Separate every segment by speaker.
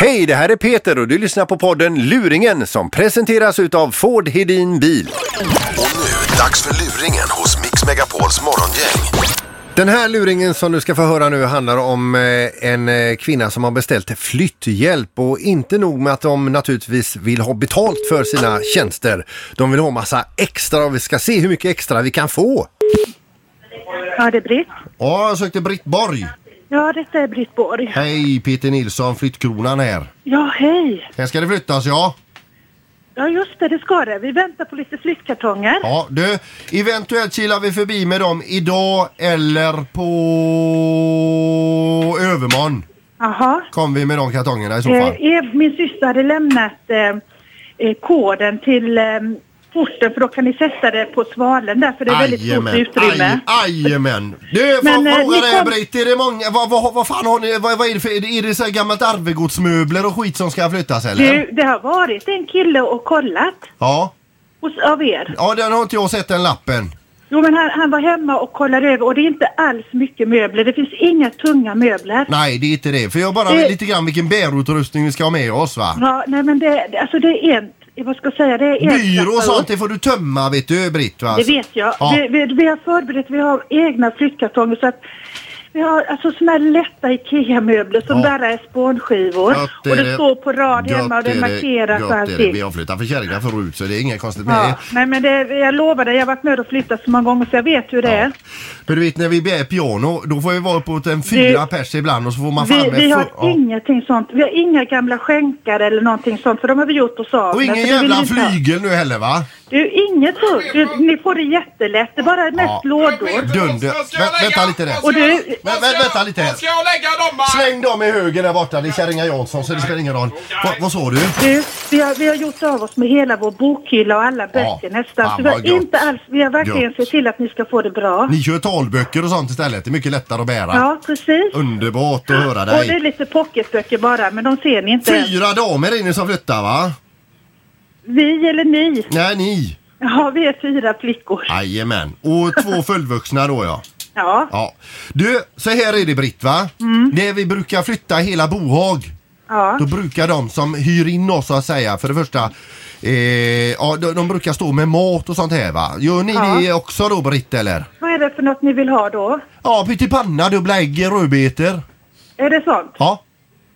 Speaker 1: Hej, det här är Peter och du lyssnar på podden Luringen som presenteras utav Ford Hedin Bil.
Speaker 2: Och nu, dags för luringen hos Mix Megapols morgongäng.
Speaker 1: Den här luringen som du ska få höra nu handlar om eh, en eh, kvinna som har beställt flytthjälp och inte nog med att de naturligtvis vill ha betalt för sina tjänster. De vill ha massa extra och vi ska se hur mycket extra vi kan få.
Speaker 3: Ja, det är Britt.
Speaker 1: Ja, jag sökte Britt Borg.
Speaker 3: Ja, detta är Britt Borg.
Speaker 1: Hej, Peter Nilsson, flyttkronan här.
Speaker 3: Ja, hej.
Speaker 1: Här ska det flyttas ja.
Speaker 3: Ja, just det, det ska det. Vi väntar på lite flyttkartonger.
Speaker 1: Ja, du, eventuellt kilar vi förbi med dem idag eller på övermorgon.
Speaker 3: Jaha.
Speaker 1: Kom vi med de kartongerna i så
Speaker 3: Eh,
Speaker 1: fall.
Speaker 3: Ev, min syster hade lämnat eh, eh, koden till eh, porten för då kan ni sätta det på svalen där för det är väldigt stort utrymme.
Speaker 1: Aj, ajamän. Du, får
Speaker 3: Men, eh,
Speaker 1: fråga
Speaker 3: ni
Speaker 1: dig
Speaker 3: kom-
Speaker 1: Britt, är det många, vad, vad, vad fan har ni, vad, vad är det för, är det, är det så här gammalt arvegodsmöbler och skit som ska flyttas eller?
Speaker 3: Du, det har varit en kille och kollat
Speaker 1: Ja.
Speaker 3: hos, av er.
Speaker 1: Ja, den har inte jag sett den lappen.
Speaker 3: Jo, men han, han var hemma och kollade över och det är inte alls mycket möbler. Det finns inga tunga möbler.
Speaker 1: Nej, det är inte det. För jag bara
Speaker 3: Det-
Speaker 1: vet lite grann vilken bärutrustning vi ska ha med oss va?
Speaker 3: Ja, nej men det, det- alltså det är en, vad ska jag säga, det är en
Speaker 1: Byrå och
Speaker 3: trappa upp.
Speaker 1: sånt, det får du tömma vet du Britt va?
Speaker 3: Det vet jag.
Speaker 1: Alltså, Ja.
Speaker 3: Vi, vi, vi har förberett, vi har egna flyttkartonger så att vi har alltså såna här lätta IKEA-möbler som
Speaker 1: Ja.
Speaker 3: bara är spånskivor.
Speaker 1: Gött är
Speaker 3: Och det står på rad
Speaker 1: Gött
Speaker 3: hemma och det är markerat
Speaker 1: gött
Speaker 3: och
Speaker 1: är det. Vi
Speaker 3: allting.
Speaker 1: har flyttat för kärringar förut så det är inget konstigt med det.
Speaker 3: Ja. Nej men det, jag lovar dig, jag har varit med och flyttat så många gånger så jag vet hur det är.
Speaker 1: Men du vet när vi bär piano då får vi vara uppåt en fyra pers ibland och så får man fram
Speaker 3: Vi,
Speaker 1: en
Speaker 3: vi har
Speaker 1: fu- ja.
Speaker 3: ingenting sånt. Vi har inga gamla skänkar eller någonting sånt för de har vi gjort hos Saab.
Speaker 1: Och ingen jävla flygel nu heller va?
Speaker 3: Du, inget så. Du, ni får det jättelätt. Det bara är mest
Speaker 1: Ja.
Speaker 3: lådor.
Speaker 1: Dunder. Vä- vänta lite där.
Speaker 3: Och du,
Speaker 1: Vä- vä- vänta lite här.
Speaker 4: Ska jag lägga dem va?
Speaker 1: Släng dem i höger där borta, det är kärringar Jansson så det spelar ingen roll. Va, vad sa du?
Speaker 3: Du, vi har, vi har gjort av oss med hela vår bokhylla och alla böcker nästan.
Speaker 1: Fan,
Speaker 3: Så vi
Speaker 1: vad
Speaker 3: har,
Speaker 1: gött.
Speaker 3: inte alls, vi har verkligen
Speaker 1: Gött.
Speaker 3: sett till att ni ska få det bra.
Speaker 1: Ni kör talböcker och sånt istället, det är mycket lättare att bära.
Speaker 3: Ja, precis.
Speaker 1: Underbart att höra
Speaker 3: Och det är
Speaker 1: dig.
Speaker 3: lite pocketböcker bara, men de ser ni inte. än.
Speaker 1: Fyra damer är ni som flyttar va?
Speaker 3: Vi eller ni?
Speaker 1: Nej ni.
Speaker 3: Ja, vi är fyra flickor.
Speaker 1: Jajamän. Och två fullvuxna då ja.
Speaker 3: Ja,
Speaker 1: Ja. Du, så här är det Britt va? När vi brukar flytta hela bohag.
Speaker 3: Mm. ja,
Speaker 1: Då brukar de som hyr in oss så att säga för det första eh, ja, de, de brukar stå med mat och sånt här va? Gör ni
Speaker 3: Ja.
Speaker 1: det också då Britt eller?
Speaker 3: Vad är det för något ni vill ha då?
Speaker 1: Ja, pyttipanna, dubbla ägg, rödbetor.
Speaker 3: Är det sånt?
Speaker 1: Ja.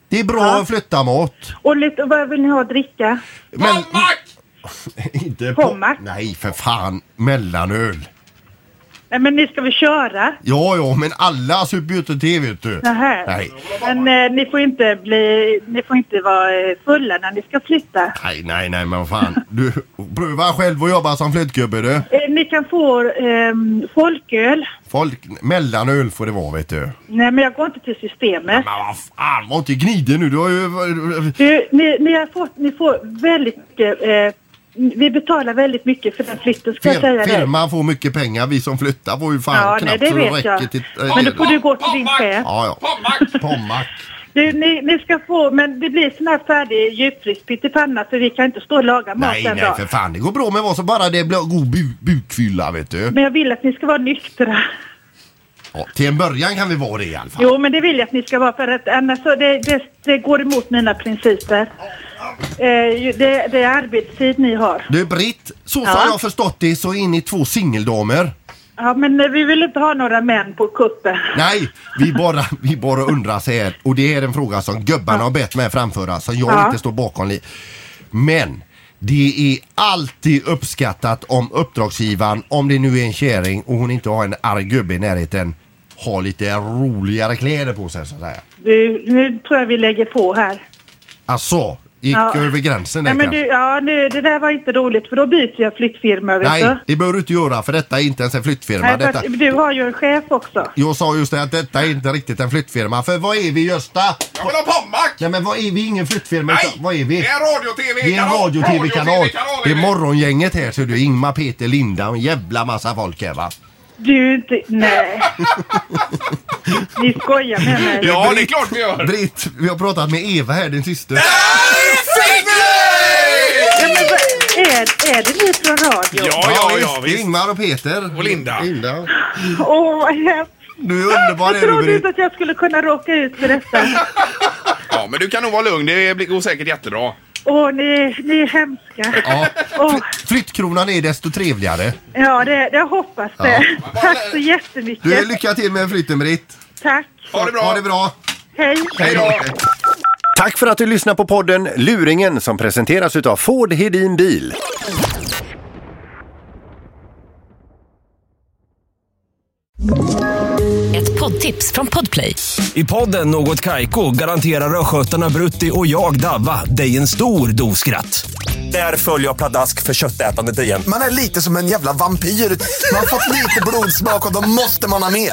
Speaker 1: Det är bra
Speaker 3: Ja.
Speaker 1: att flytta mat.
Speaker 3: Och lite, vad vill ni ha att dricka?
Speaker 1: Men
Speaker 4: Palmack!
Speaker 1: inte
Speaker 3: Pommack.
Speaker 1: Nej för fan, mellanöl.
Speaker 3: Nej, men ni ska väl köra?
Speaker 1: Ja, ja, men alla super ju inte te vet du.
Speaker 3: Nähä.
Speaker 1: Nej.
Speaker 3: Men eh, ni får inte bli, ni får inte vara eh, fulla när ni ska flytta.
Speaker 1: Nej, nej, nej, men vad fan. Du, pröva själv att jobba som flyttgubbe du.
Speaker 3: Eh, ni kan få eh, folköl.
Speaker 1: Folk, mellanöl får det vara vet du.
Speaker 3: Nej, men jag går inte till systemet.
Speaker 1: Men vad fan, var inte gnidig nu. Du har ju... eh,
Speaker 3: Du, ni, ni, har fått, ni får väldigt mycket, eh, vi betalar väldigt mycket för den flytten ska jag säga
Speaker 1: Fir,
Speaker 3: dig.
Speaker 1: firman får mycket pengar, vi som flyttar får ju fan
Speaker 3: Ja, nej,
Speaker 1: knappt
Speaker 3: det
Speaker 1: så
Speaker 3: vet
Speaker 1: räcker
Speaker 3: jag.
Speaker 1: till...
Speaker 3: Men då får du gå till din
Speaker 4: Pommack!
Speaker 3: chef.
Speaker 1: Ja, ja.
Speaker 4: Pommack!
Speaker 1: Pommack.
Speaker 3: Du, ni, ni ska få, men det blir sån här färdig djupfryst pyttipanna för vi kan inte stå och laga mat
Speaker 1: Nej,
Speaker 3: den
Speaker 1: nej, för
Speaker 3: dagen.
Speaker 1: fan. Det går bra med vad som bara det blir god bu bukfylla vet du.
Speaker 3: Men jag vill att ni ska vara nyktra.
Speaker 1: Ja, till en början kan vi vara det i alla fall.
Speaker 3: Jo, men det vill jag att ni ska vara för att annars så det, det, det går emot mina principer. Eh, ju- det, det är arbetstid ni har.
Speaker 1: Du Britt, så som
Speaker 3: Ja.
Speaker 1: jag har förstått det så är ni två singeldamer.
Speaker 3: Ja, men eh, vi vill inte ha några män på kuppen.
Speaker 1: Nej, vi bara, vi bara undrar så här. Och det är en fråga som gubbarna har bett mig framföra som jag
Speaker 3: Ja.
Speaker 1: inte står bakom. li- Men det är alltid uppskattat om uppdragsgivaren, om det nu är en kärring och hon inte har en arg gubbe i närheten, har lite roligare kläder på sig så att säga.
Speaker 3: Du, nu tror jag vi lägger på här.
Speaker 1: Alltså, gick
Speaker 3: Ja.
Speaker 1: jag över gränsen där
Speaker 3: Nej, men
Speaker 1: kanske?
Speaker 3: du, ja, nu, det där var inte roligt för då byter jag flyttfirma. Vet
Speaker 1: Nej,
Speaker 3: du?
Speaker 1: det behöver du inte göra för detta är inte ens en flyttfirma.
Speaker 3: Nej,
Speaker 1: detta...
Speaker 3: fast du har ju en chef också.
Speaker 1: Jag sa just det att detta är inte riktigt en flyttfirma. För vad är vi Gösta?
Speaker 4: Jag vill ha Pommack!
Speaker 1: Nej men vad är vi? Ingen flyttfirma.
Speaker 4: Nej!
Speaker 1: utan Vad är vi?
Speaker 4: Det är en
Speaker 1: Vi
Speaker 4: radio-tv-kanal!
Speaker 1: är en radio-tv-kanal. Det är
Speaker 4: är det.
Speaker 1: morgongänget här ser du. Ingmar, Peter, Linda och en jävla massa folk här va?
Speaker 3: Du är inte... Nej. Ni skojar med mig.
Speaker 4: Ja, det är klart vi gör!
Speaker 1: Britt, vi har pratat med Eva här, din syster.
Speaker 3: Ja, men vad, är, är det ni från radio?
Speaker 4: Ja, ja, ja,
Speaker 1: visst. Det är
Speaker 4: visst.
Speaker 1: Ingmar och Peter.
Speaker 4: Och Linda.
Speaker 1: Linda.
Speaker 3: Åh, vad hemskt.
Speaker 1: Du är underbar
Speaker 3: Jag
Speaker 1: är du
Speaker 3: trodde inte
Speaker 1: Britt.
Speaker 3: att jag skulle kunna råka ut för detta.
Speaker 4: Ja, men du kan nog vara lugn. Det blir- går säkert jättebra.
Speaker 3: Åh, ni, ni är hemska.
Speaker 5: Ja.
Speaker 3: Åh,
Speaker 5: Fly- Flyttkronan är desto trevligare.
Speaker 3: ja, det, jag hoppas det. Tack så jättemycket.
Speaker 5: Du, lycka till med flytten Britt.
Speaker 3: Tack.
Speaker 4: Ha det bra.
Speaker 5: Ha det bra.
Speaker 3: Hej.
Speaker 4: Hej då.
Speaker 1: Tack för att du lyssnar på podden Luringen som presenteras utav Ford Hedin Bil.
Speaker 6: Ett poddtips från Podplay.
Speaker 7: I podden Något Kaiko garanterar östgötarna Brutti och jag, Davva, dig en stor dos skratt. Där följer jag pladask för köttätandet igen.
Speaker 8: Man är lite som en jävla vampyr. Man har fått lite blodsmak och då måste man ha mer.